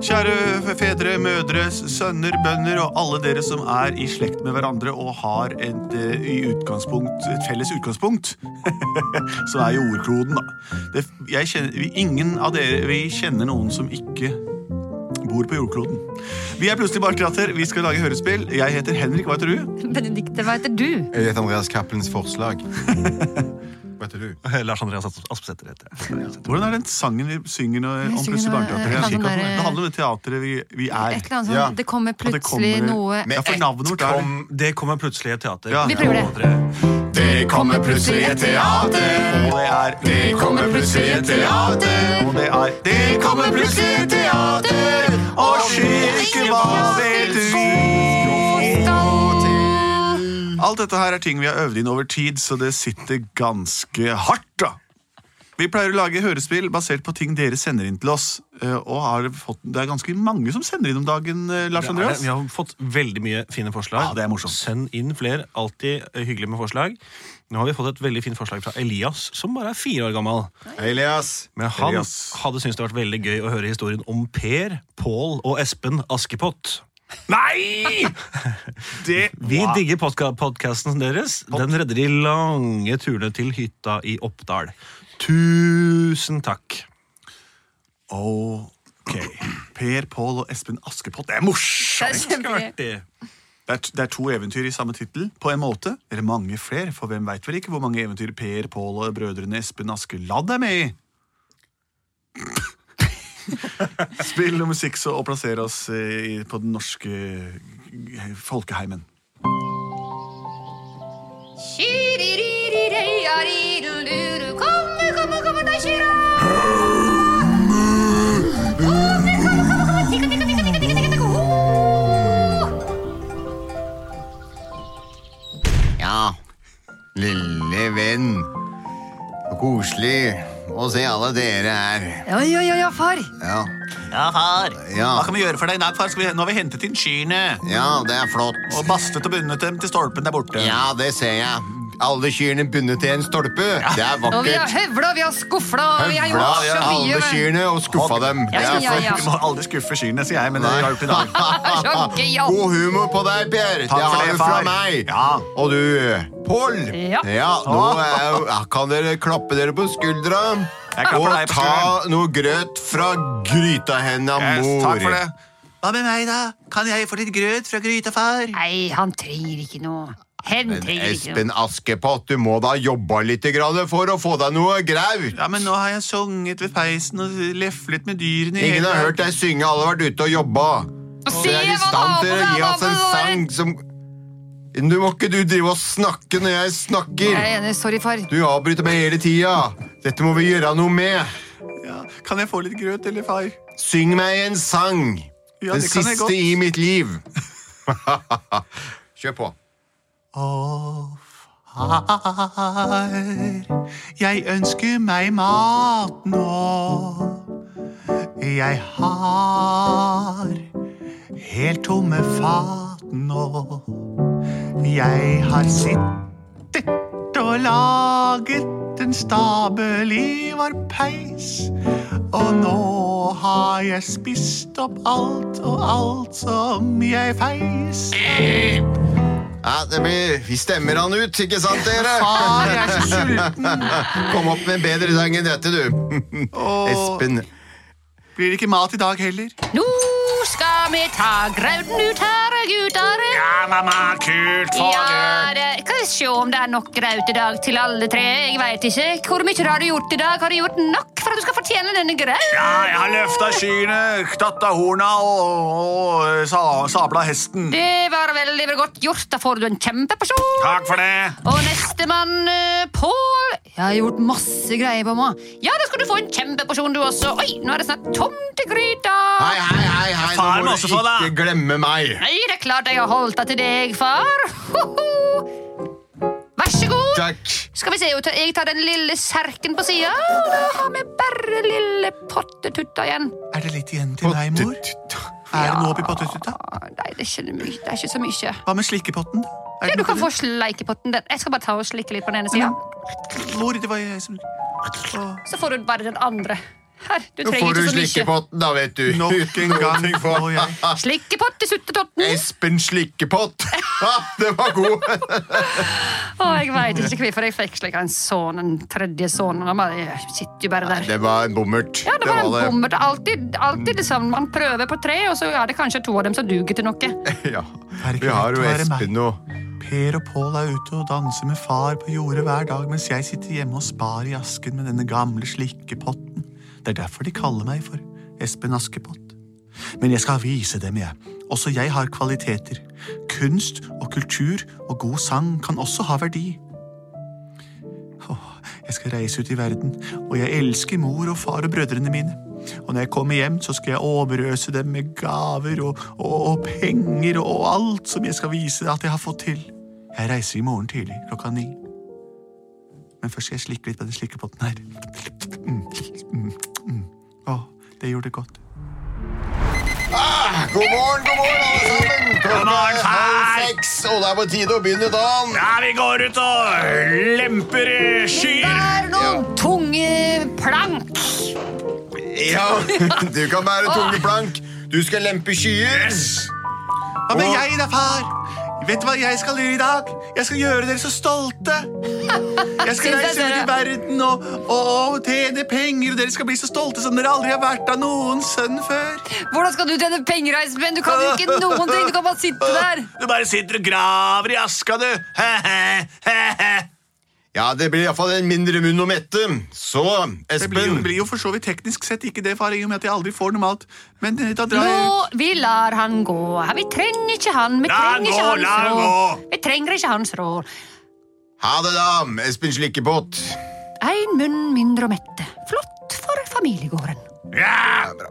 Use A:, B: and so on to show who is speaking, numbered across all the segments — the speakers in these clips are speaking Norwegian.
A: Kjære fedre, mødre, sønner, bønder og alle dere som er i slekt med hverandre og har et, eh, i utgangspunkt, et felles utgangspunkt, så er jo ordkloden, da. Det, jeg kjenner, vi, ingen av dere vi kjenner noen som ikke bor på jordkloden. Vi er plutselig barkrater, vi skal lage hørespill. Jeg heter Henrik, hva heter du?
B: Benedikte, hva heter du?
C: Jeg heter Andreas Cappelens forslag. Vet du?
D: Eh, Lars Andreas Aspesæter heter jeg.
A: Hvordan er den sangen vi synger når-
B: Vi
A: om
B: synger
A: plutselig
B: noe-
A: barkrater?
B: ja, sånn der-
A: Det handler om det teatret vi, vi
B: Et
A: er.
B: eller annet sånn,
C: Ja.
B: Det kommer plutselig
A: kommer-
B: noe
A: Ja, for navnet vårt er
D: Kom, det kommer plutselig i et teater.
A: Ja.
B: Vi prøver det.
C: Det kommer plutselig et teater.
A: Og det er
C: Det kommer plutselig et teater.
A: Og det er Det kommer plutselig et teater og kirke, hva vet du? Alt dette her er ting vi har øvd inn over tid, så det sitter ganske hardt, da. Vi pleier å lage hørespill basert på ting dere sender inn til oss. eh, Og har fått, det er ganske mange som sender inn om dagen, eh, Lars
D: Det er,
A: Andreas.
D: vi har fått veldig mye fine forslag.
A: Ja, det er morsomt.
D: Send inn flere. Alltid eh, hyggelig med forslag. Nå har vi fått et veldig fint forslag fra Elias, som bare er fire år gammel.
C: Elias.
D: Men han
A: Elias.
D: hadde syntes det hadde vært veldig gøy å høre historien om Per, Pål og Espen Askepott. Nei!
A: Det-
D: Vi digger podka- podkasten deres. Den redder de lange turene til hytta i Oppdal. Tusen takk.
A: Ok. Per, Pål og Espen Askepott. Det er morsomt!
B: Det er kjempegøy.
D: Det
A: Det er, det er to eventyr i samme tittel, på en måte. Eller mange flere, for hvem veit vel ikke hvor mange eventyr Per, Pål og brødrene Espen Askeladd er med i? Spill nummer seks og og plasser oss eh, i- på den norske eh, folkeheimen.
B: Kyriririririarideluru, Komme, komme, komme, da kyrra! Komme, komme, komme, komme, tikka, tikka, tikka, tikka, tikka, tikka, tikka, ho!
C: Ja, lille venn. Koselig å se alle dere her.
B: Ja, ja, ja, ja, far.
C: Ja,
A: Ja, far.
C: ja,
A: Hva kan vi gjøre for deg i dag, far? Skal vi, nå har vi hentet inn kyrne.
C: ja det er flott.
A: Og bastet og bundet dem til stolpen der borte.
C: Ja, det ser jeg. Alle kyrne bundet til en stolpe. Det er
B: Og vi har
C: vakkert.
B: høvla, vi har skufla, vi har
C: Høvla
B: gjort så
C: alle
B: mye.
C: kyrne og skuffa dem. Det
B: Ja, ja,
C: er
B: ja.
C: flott.
A: Vi må aldri skuffe kyrne, sier jeg, men det har vi gjort i dag.
B: Det er så gøyalt.
C: God humor på deg, Per.
A: Takk
C: det
A: for
C: har
A: det,
C: du fra
A: far.
C: meg.
A: Ja.
C: Og du, Pål.
B: Ja.
C: nå er, kan dere klappe dere på skuldra.
A: Jeg klapper
C: og
A: deg på
C: ta noe grøt fra gryta henne av
A: Yes,
C: mor.
A: takk for det. Hva med meg, da? Kan jeg få litt grøt fra gryta, far?
B: Nei, han trenger ikke noe. Hen
C: Men
B: trenger ikke noe.
C: Espen Askepott, du må da jobbe litt grann for å få deg noe graut.
A: Ja, men nå har jeg sunget ved peisen og leflet med dyrene. i
C: Ingen
A: hele
C: har hørt
A: verden.
C: deg synge, alle har vært ute og jobba.
B: Og
C: Dere er i stand til å gi oss en sang som Du må ikke du drive og snakke når jeg snakker.
B: Jeg er enig. Sorry, far.
C: Du avbryter meg hele tida. Dette må vi gjøre noe med.
A: Ja, kan jeg få litt grøt, eller, far?
C: Syng meg en sang.
A: Ja,
C: Den
A: det kan jeg
C: siste
A: godt.
C: i mitt liv. Kjør på.
A: Å, far, jeg ønsker meg mat nå. Jeg har helt tomme fat nå. Jeg har sittet og laget en stabel i vår peis. Og nå har jeg spist opp alt og alt som jeg feis.
C: Ja, det blir, vi stemmer han ut, ikke sant, dere?
A: Far, jeg er så sulten.
C: Kom opp med en bedre sang enn dette, du.
A: Åh.
C: Espen.
A: Blir det ikke mat i dag heller?
B: Nå skal vi ta grauten ut her og ut der.
A: Ja, mamma, kult,
B: Ja, det kan vi se om det er nok graut i dag til alle tre. Jeg veit ikke. Hvor mye har du gjort i dag? Har du gjort nok for at du skal fortjene denne grønn.
A: Ja, jeg har løfta skyene, knatta horna og, og sa, sabla hesten.
B: Det var veldig veldig godt gjort. Da får du en kjempeperson.
A: Takk for det.
B: Og nestemann, eh, Pål. Jeg har gjort masse greier på meg. Ja, da skal du få en kjempeperson, du også. Oi, nå er det snart tomtegryta.
C: Hei, hei, hei, hei, nå
A: Far,
C: må
A: masse
C: du
A: for deg.
C: ikke glemme meg.
B: Nei, det er klart jeg har holdt deg til deg, far. Ho-ho. Vær så god.
C: Takk.
B: Skal vi se, jeg tar- jeg tar den lille serken på sida, og da har vi bare lille pottetutta igjen.
A: Er det litt igjen til deg, mor? Er det noe oppi pottetuta?
B: Ah, Nei, det er ikke, my- det er ikke så mye.
A: Hva med slikkepotten? Er
B: Ja,
A: det
B: du
A: noe
B: kan
A: til
B: få sleikepotten. den. Jeg skal bare ta og slikke litt på den ene sida.
A: det? Mor, det var jeg som Åh.
B: Så får du bare den andre. Her, du
C: Nå
B: trenger
C: får du
B: ikke så mye.
C: slikkepotten, da, vet du.
A: Nok en gang får jeg
B: Slikkepott til suttetotten.
C: Espen Slikkepott! Ha, det var god!
B: Å, jeg veit ikke hvorfor jeg fikk slik en sånn, en tredje sånn. Han bare jeg sitter jo bare der.
C: Det var en bommert.
B: Ja, det var en
C: det.
B: bommert. Alltid, alltid liksom, man prøver på tre, og så er det kanskje to av dem som duger til noe.
C: Ja.
A: Er det korrekt
C: Vi har jo
A: å være
C: Espen
A: meg?
C: nå.
A: Per og Pål er ute og danser med far på jordet hver dag, mens jeg sitter hjemme og spar i asken med denne gamle slikkepotten. Det er derfor de kaller meg for Espen Askepott. Men jeg skal vise dem, jeg. Også jeg har kvaliteter. Kunst og kultur og god sang kan også ha verdi. Åh, Jeg skal reise ut i verden, og jeg elsker mor og far og brødrene mine. Og når jeg kommer hjem, så skal jeg overøse dem med gaver og, og, og penger og alt som jeg skal vise at jeg har fått til. Jeg reiser i morgen tidlig klokka ni. Men først skal jeg slikke litt på den slikkepotten her. Mm, mm, mm. Åh, det gjorde det godt.
C: God morgen, god morgen, alle sammen! Klokka
A: morgen,
C: er
A: far!
C: halv seks, og det er på tide å begynne dagen.
A: Ja, vi går ut og lemper
B: Det
A: skyer!
B: er noen tunge plank.
C: Ja, du kan bære tungeplank. Du skal lempe skyer.
A: Hva med jeg da, far? Vet du hva jeg skal gjøre i dag? Jeg skal gjøre dere så stolte. Jeg skal
B: Synes jeg
A: reise ut i
B: dere-
A: verden og, og, og tjene penger, og dere skal bli så stolte som dere aldri har vært av noen sønn før.
B: Hvordan skal du tjene penger, Espen? Du kan jo ikke noen ting. Du kan bare sitte der.
A: Du bare sitter og graver i aska, du.
C: Ja, det blir iallfall en mindre munn å mette. Så,
A: Det blir, jo,
C: Espen
A: det blir jo for så vidt teknisk sett ikke det, far, i og med at jeg aldri får noe mat. Men eh, da drar jeg
B: Jo, vi lar han gå. Vi trenger ikke han. Vi
A: La han
B: trenger
A: gå,
B: ikke hans
A: la han
B: råd.
A: gå.
B: Vi trenger ikke hans råd.
C: Ha det, da, Espen Slikkepott.
B: Én munn mindre å mette. Flott for familiegården.
C: Ja, bra.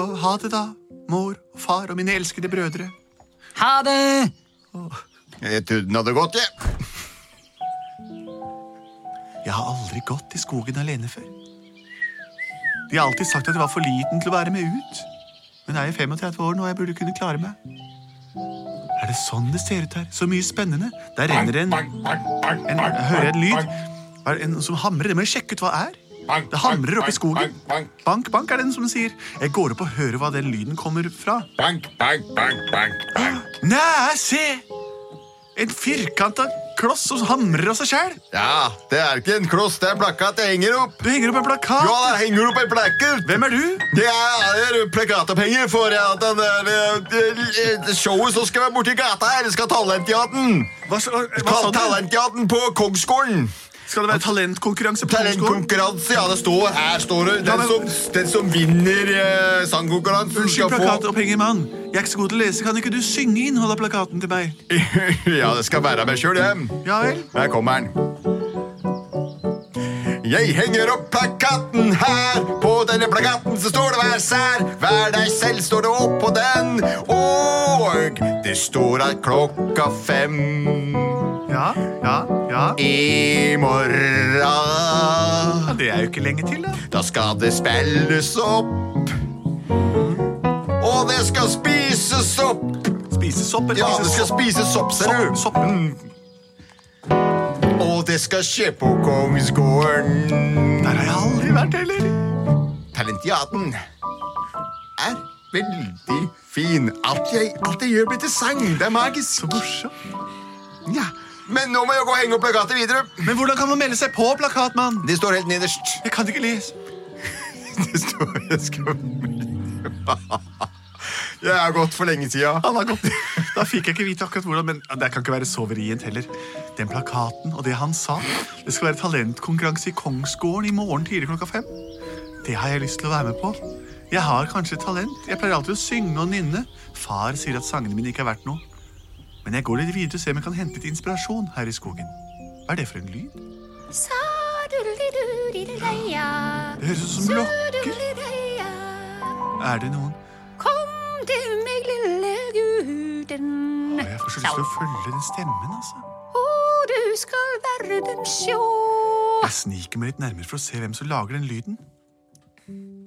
A: Og ha det, da. Mor og far og mine elskede brødre.
B: Ha det!
C: Jeg trodde den Eh, hadde gått, jeg. Ja.
A: Jeg har aldri gått i skogen alene før. De har alltid sagt at jeg var for liten til å være med ut. Men jeg er 35 år nå, og jeg burde kunne klare meg. Er det sånn det ser ut her? Så mye spennende. Der renner det en, en Hører jeg en lyd? Hva er det en som hamrer? Det må jeg sjekke ut hva er. Det hamrer oppi skogen. Bank, bank er det den som sier. Jeg går opp og hører hva den lyden kommer fra.
E: Bank, bank, bank, bank, bank.
A: Næ, se! En firkanta kloss som hamrer av seg sjæl.
C: Ja, Det er ikke en kloss, det er plakat jeg henger opp.
A: Du henger opp en plakat.
C: Ja, der henger opp en plakat.
A: Hvem er du?
C: Det er plakatapenger for at den der, eh, eh, showet som skal være borti gata her, skal ha Talentjaten.
A: Hva, sa- hva sa
C: Kall
A: du?
C: Talentjaten på Kongsgården.
A: Skal det være talentkonkurranse på ungskolen?
C: Talentkonkurranse, ja, det står her. står det.
A: Ja,
C: Den
A: men-
C: som, den som vinner eh, sangkonkurransen,
A: Unnskyld,
C: skal
A: plakat
C: få
A: og penger, mann. Jeg er ikke så god til å lese. Kan ikke du synge innholdet av plakaten til meg?
C: Ja, det skal være meg sjøl, jeg.
A: Ja vel?
C: Der kommer den. Jeg henger opp plakaten her. På denne plakaten så står det 'Vær sær'. Vær deg selv, står det oppå den. Og det står at klokka fem
A: Ja, ja, ja.
C: i morgen
A: ja det er jo ikke lenge til, da.
C: Da skal det spilles opp. Og det skal spises opp.
A: Spisesopp eller
C: Ja, det skal
A: spisesopp?
C: spises sopp, ser du.
A: Sopp, mm. sopp.
C: Og det skal skje på Kongsgården.
A: Der har jeg aldri vært heller.
C: Talentiaten er veldig fin. Alt jeg, alt jeg gjør, blir til sang. Det er magisk.
A: Så morsomt.
C: Ja. Men nå må jeg gå og henge opp plakatet videre.
A: Men hvordan kan man melde seg på plakat, mann?
C: Det står helt nederst.
A: Jeg kan ikke lese.
C: Det står jeg skal... Jeg har gått for lenge siden.
A: Han har gått. Da fikk jeg ikke vite akkurat hvordan, men det kan ikke være så vrient heller. Den plakaten og det han sa. Det skal være talentkonkurranse i Kongsgården i morgen tidlig klokka fem. Det har jeg lyst til å være med på. Jeg har kanskje talent. Jeg pleier alltid å synge og nynne. Far sier at sangene mine ikke er verdt noe. Men jeg går litt videre og ser om jeg kan hente litt inspirasjon her i skogen. Hva er det for en lyd?
B: Sa-du-li-du-li-lei-ja.
A: Det høres ut som blokker.
B: Su-du-li-lei-ja.
A: Er det noen
B: Kom til meg, lille guden.
A: Å, Jeg får så lyst til å følge den stemmen, altså.
B: Og du skal verden sjå.
A: Jeg sniker meg litt nærmere for å se hvem som lager den lyden.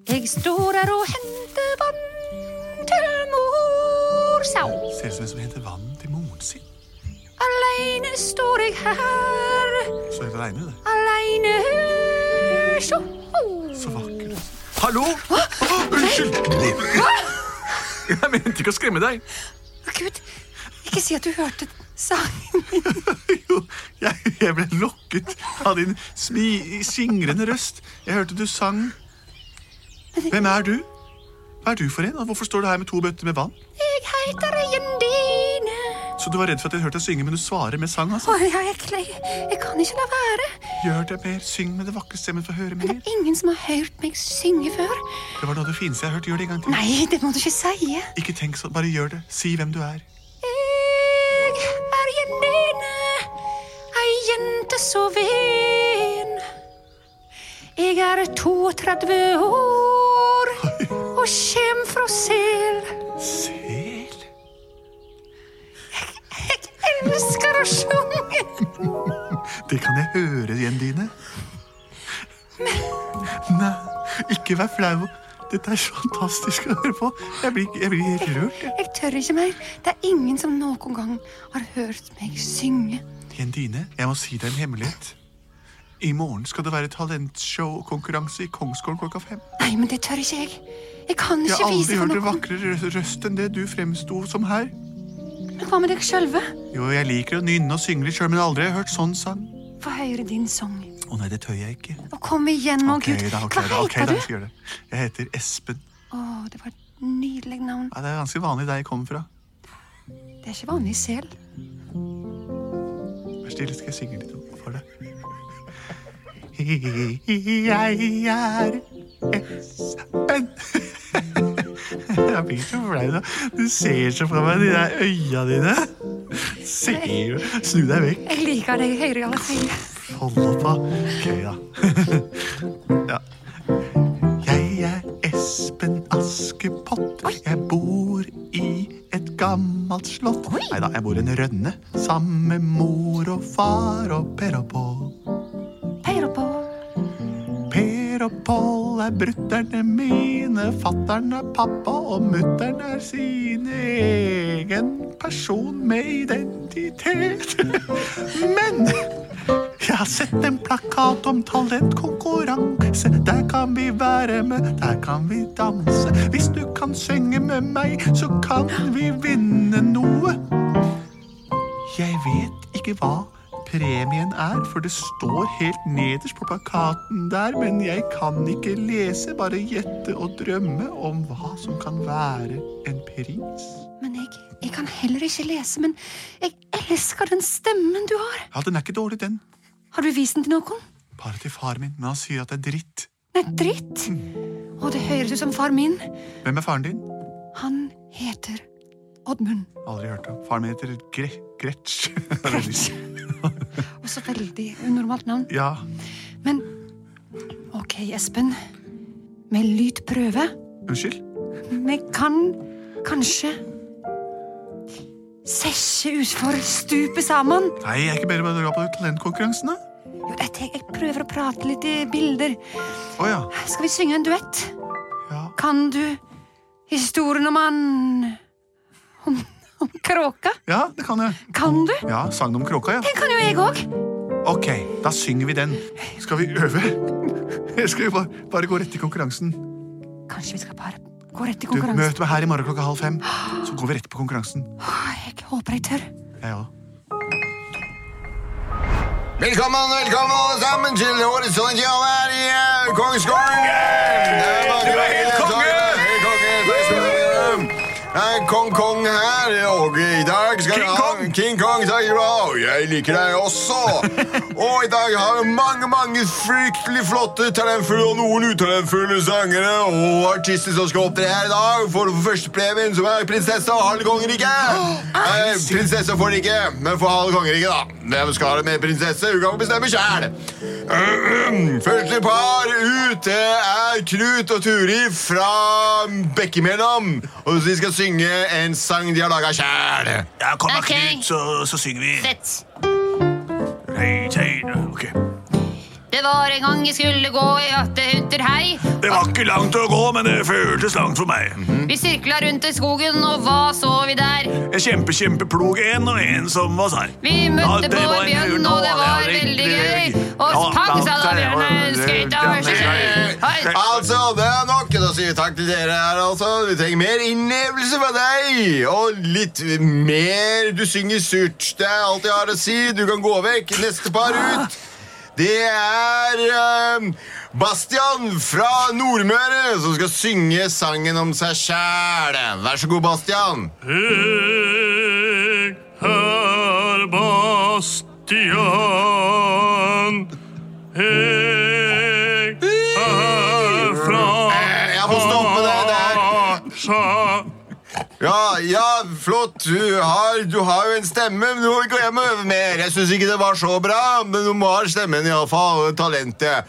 B: Jeg står her og henter vann til mor, sa hun.
A: Ser ut som en som henter vann til moren sin.
B: Aleine står jeg her,
A: Så helt alene, det.
B: aleine sjå.
A: Så vakker. Hallo! Å, Unnskyld! Jeg mente ikke å skremme deg.
B: Gud, ikke si at du hørte sangen.
A: Jo, jeg, jeg ble lokket av din smi, skingrende røst. Jeg hørte du sang. Hvem er du? Hva er du for en? Og hvorfor står du her med to bøtter med vann?
B: Jeg heter Jendine.
A: Så du var redd for at jeg hørte deg synge, men du svarer med sang, altså?
B: Å, ja, jeg, jeg, jeg kan ikke la være.
A: Gjør det mer, syng med det vakre stemmen for å høre
B: Det
A: mer.
B: er ingen som har hørt meg synge før.
A: Det var noe av det fineste jeg har hørt. Gjør det en gang til.
B: Nei, det må du ikke si.
A: Ikke tenk sånn, bare gjør det. Si hvem du er.
B: Jeg er Jendine, ei jente så ven. Jeg er 32 år og kjem fra Sel.
A: Sel?
B: Jeg elsker å sjunge.
A: Det kan jeg høre igjen, Dine. Nei, ikke vær flau. Dette er så fantastisk å høre på. Jeg blir, jeg blir helt rørt. jeg.
B: Jeg tør ikke mer. Det er ingen som noen gang har hørt meg synge.
A: Jendine, jeg må si deg en hemmelighet. I morgen skal det være talentshow-konkurranse i Kongsgården klokka fem.
B: Nei, men det tør ikke jeg. Jeg kan
A: Jeg har
B: ikke
A: aldri
B: vise for
A: hørt en
B: noen.
A: vakrere rø- røst enn det du fremsto som her.
B: Men hva med deg sjølve?
A: Jo, jeg liker å nynne og synge litt sjøl, men aldri har jeg hørt sånn sang.
B: Få høre din sang.
A: Å nei, det tør jeg ikke.
B: Og kom igjen, å
A: Ok,
B: gud.
A: da, ok,
B: Hva
A: da, ok,
B: heter
A: da, jeg
B: du?
A: skal gjøre det. Jeg heter Espen.
B: Å, det var et nydelig navn.
A: Ja, det er ganske vanlig der jeg kommer fra.
B: Det er ikke vanlig sel.
A: Vær stille, skal jeg synge litt for deg. Jeg er Espen. Jeg blir så flau nå. Du ser så fra meg de der øya dine. Ser du? Snu deg vekk.
B: Jeg liker deg høyere alle fire.
A: Hold opp, da. Ok, da. Ja. Jeg er Espen Askepott. Jeg bor i et gammelt slott. Nei da, jeg bor i en rønne. Sammen med mor og far og Per og Pål.
B: Peiler på.
A: Per og Pål er brutter'n mine, fatter'n er pappa, og mutter'n er sin egen person med identitet. Men jeg har sett en plakat om talentkonkurranse. Der kan vi være med, der kan vi danse. Hvis du kan synge med meg, så kan vi vinne noe. Jeg vet ikke hva premien er, for det står helt nederst på plakaten der, men jeg kan ikke lese, bare gjette og drømme om hva som kan være en pris.
B: Men jeg, jeg kan heller ikke lese, men jeg elsker den stemmen du har.
A: Ja, den er ikke dårlig, den.
B: Har du vist den til noen?
A: Bare til far min, men han sier at det er dritt.
B: Nei, dritt. Å, det høres ut som far min.
A: Hvem er faren din?
B: Han heter Oddmund.
A: Aldri hørt om. Faren min heter Gre Gretsch. Gretsch.
B: Også veldig unormalt navn.
A: ja,
B: Men ok, Espen. Med lyt prøve.
A: unnskyld?
B: Vi kan kanskje Sesje utfor stupet sammen.
A: Nei, jeg er ikke bedre med å dra på talentkonkurransene.
B: Jo, jeg, tenk- jeg prøver å prate litt i bilder.
A: Å ja.
B: Skal vi synge en duett?
A: ja.
B: Kan du historien om han Om, om kråka?
A: Ja, det kan jeg.
B: Kan du?
A: Ja, sangen om kråka, ja.
B: Den kan jo jeg òg.
A: Ok, da synger vi den. Skal vi øve? Eller skal vi bare, bare gå rett til konkurransen?
B: Kanskje vi skal bare gå rett i
A: Du,
B: konkurransen?
A: Møt meg her i morgen klokka halv fem, så går vi rett på konkurransen.
B: Åh, Jeg håper jeg tør.
A: Jeg òg.
C: Velkommen, velkommen alle sammen til årets Solenkial her i eh, Kongsgården! Det er bare å være helt konge! Helt konge, takk skal du ha. er Kong Kong her, og i dag skal
A: King
C: du ha-
A: Kong.
C: King Kong takk skal du ha, og jeg liker deg også. og i dag har vi mange, mange fryktelig flotte, talentfulle og noen utalentfulle sangere og artister som skal opptre her i dag for førstepremien, som er prinsesse og halve kongeriket. Eh, prinsesse får det ikke, men får halve kongeriket, da. Hvem skal ha det med prinsesse? Hun kan bestemme sjæl. Første par ut det er Knut og Turi fra Bekkemellom. Og de skal synge en sang de har laga sjæl.
A: Ja, kom da,
B: Ok.
A: Knut, så, så synger vi.
B: Sett.
A: Hei, hei. Ok.
B: Det var en gang jeg skulle gå i attehunder hei.
A: Det var ikke langt å gå, men det føltes langt for meg.
B: Vi sirkla rundt i skogen, og hva så vi der?
A: En kjempe, kjempeplog en og en som var sær.
B: Vi møtte
A: Ja, det
B: på
A: var
B: en
A: en
B: bjørn,
A: bjørn,
B: og det
A: og det
B: var
A: var
B: veldig
A: riktig
B: gøy.
A: gøy.
B: Og
A: Ja,
B: pang sa da
A: det var-
B: bjørnen, skøyt over
A: det-
B: seg. Hei.
C: Altså, det er nok. Da sier vi takk til dere her, altså. Vi trenger mer innlevelse fra deg. Og litt mer Du synger surt. Det er alt jeg har å si. Du kan gå vekk. Neste par ut. Det er eh, Bastian fra Nordmøre som skal synge sangen om seg sjæl. Vær så god, Bastian.
F: Jeg er Bastian. Jeg er fra
C: Eh, Jeg må stoppe deg der.
F: Sa-
C: Ja, ja, flott. Du har, du har jo en stemme, men du må ikke hjem og øve mer. Jeg syns ikke det var så bra, men du må ha stemmen iallfall. Og talentet.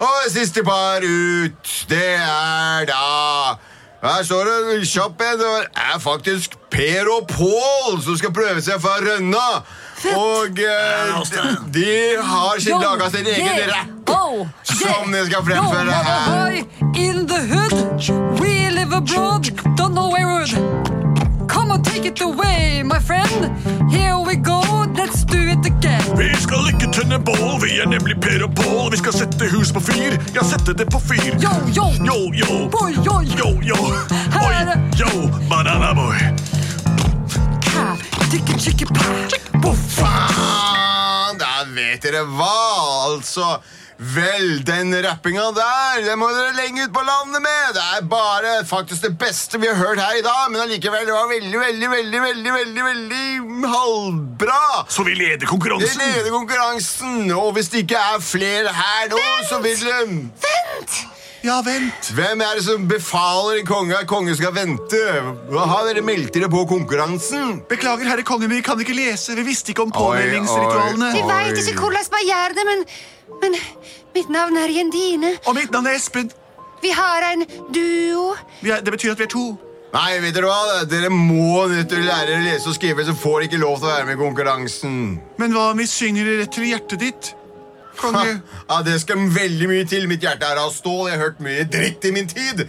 C: Og siste par ut, det er da Her står det en kjapp en. Det er faktisk Per og Pål som skal prøve seg fra Rønna. Og eh, de- de har sin, laga sin egen rapp
G: oh,
C: som de skal fremføre her.
G: In the hood, we live abroad, don't know where wood. Come and take it away, my friend. Here we go, let's do it again.
F: Vi skal ikke tenne bål, vi er nemlig Per og Pål. Vi skal sette hus på fyr, ja, sette det på fyr.
G: Yo, yo,
F: Yo, yo,
G: boy, yo, yo.
F: yo, yo.
G: Her
F: Oi,
G: er det.
F: yo, banana boy.
G: ka, tikki, tikki, pa.
C: faen! Da Ah, vet dere hva, altså. Vel, den rappinga der, den må dere lenge ut på landet med. Det er bare faktisk det beste vi har hørt her i dag, men allikevel, det var veldig, veldig, veldig, veldig, veldig, veldig halvbra.
F: Så vi leder
C: Det
F: konkurransen.
C: leder konkurransen, og hvis det ikke er flere her nå, så vil det
A: Ja, vent.
C: hvem er det som befaler en konge at kongen skal vente? Har dere meldt dere på konkurransen?
A: Beklager, herre konge, men vi kan ikke lese. Vi visste ikke om
C: Oi, oi.
H: Jeg
A: påmeldingsritualene.
H: veit ikke hvordan man gjør det, men, men mitt navn er Jendine.
A: Og mitt navn er Espen.
H: Vi har en duo.
A: Vi er, det betyr at vi er to.
C: Nei, vet dere hva? Dere må nødt til å lære dere å lese og skrive, så får dere ikke lov til å være med i konkurransen.
A: Men hva om vi synger rett til hjertet ditt?
C: Ha,
A: Konge.
C: ja, det skal veldig mye til. Mitt hjerte er av stål. Jeg har hørt mye dritt i min tid.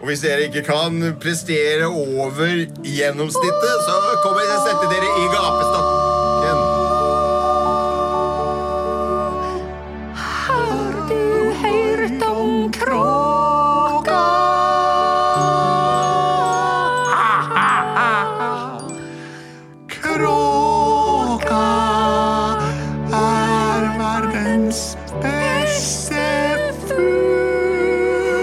C: Og hvis dere ikke kan prestere over gjennomsnittet, så kommer jeg til å sette dere i gapestokken.
G: Har du hørt om kråka?
A: Kråka er verdens beste fugl.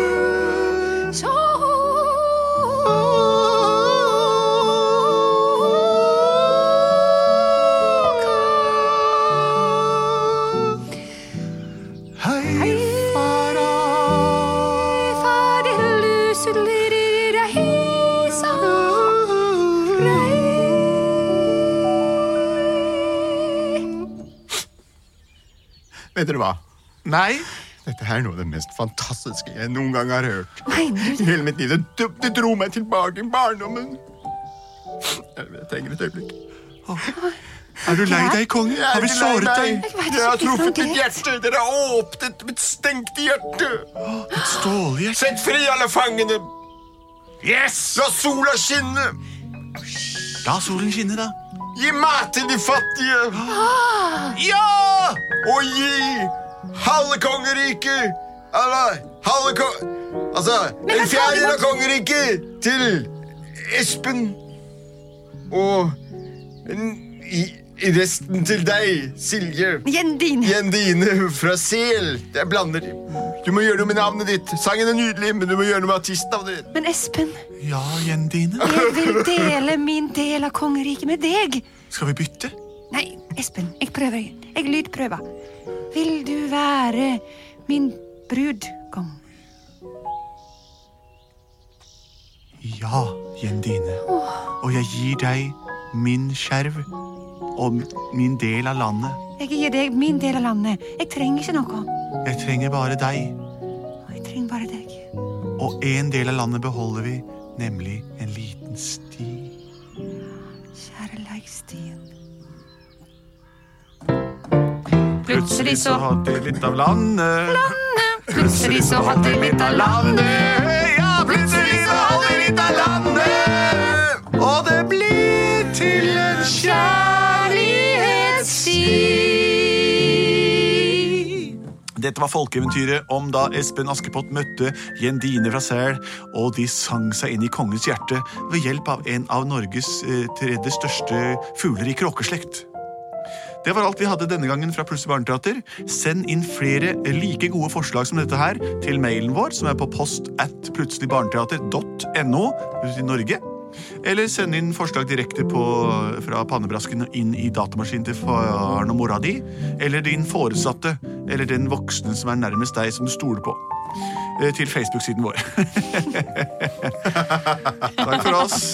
A: Hei, fara.
C: Vet dere hva?
A: Nei.
C: Dette her er noe av det mest fantastiske jeg noen gang har hørt. I hele mitt liv. Det, det dro meg tilbake i barndommen. Jeg, jeg trenger et øyeblikk.
A: Er du lei deg, konge?
C: Jeg er
A: Har vi
C: ikke lei
A: såret
C: meg.
A: deg?
C: Dere har truffet mitt hjerte. Dere har åpnet mitt stengte hjerte.
A: Et stålhjerte.
C: Sett fri alle fangene.
F: Yes!
C: La sola skinne.
A: La solen skinne, da.
C: Gi mat til de fattige. Ah.
A: Ja!
C: Og gi halve kongeriket Eller halve kong... Altså, en fjerdedel av kongeriket til Espen. Og en, i, resten til deg, Silje.
H: Jendine.
C: Jendine fra Sel. Jeg blander. Du må gjøre noe med navnet ditt. Sangen er nydelig, men du må gjøre noe med artistnavnet ditt.
H: Men Espen,
A: Ja, Jendine.
H: jeg vil dele min del av kongeriket med deg.
A: Skal vi bytte?
H: Nei, Espen, jeg prøver. Jeg lydprøver. Vil du være min brudgom?
A: Ja, Jendine. Og jeg gir deg min skjerv og min del av landet.
H: Jeg gir deg min del av landet. Jeg trenger ikke noe.
A: Jeg trenger bare deg,
H: Jeg trenger bare deg.
A: og en del av landet beholder vi, nemlig en liten sti.
H: Kjærleikstien.
A: Plutselig så hadde jeg litt av landet.
B: Plutselig så hadde jeg litt av landet.
A: Ja, plutselig så hadde jeg litt av landet. Og det blir til en
B: Kjærlighetssti.
A: Dette var folkeeventyret om da Espen Askepott møtte Jendine fra Sel, og de sang seg inn i kongens hjerte ved hjelp av en av Norges eh, tredje største fugler i kråkeslekt. Det var alt vi hadde denne gangen fra Plutselig barneteater. Send inn flere like gode forslag som dette her til mailen vår, som er på post at plutseligbarneteater.no i Norge. Eller send inn forslag direkte på, fra pannebrasken og inn i datamaskinen til faren og mora di. Eller din foresatte, eller den voksne som er nærmest deg, som du stoler på. Eh, Til Facebook-siden vår. Takk for oss.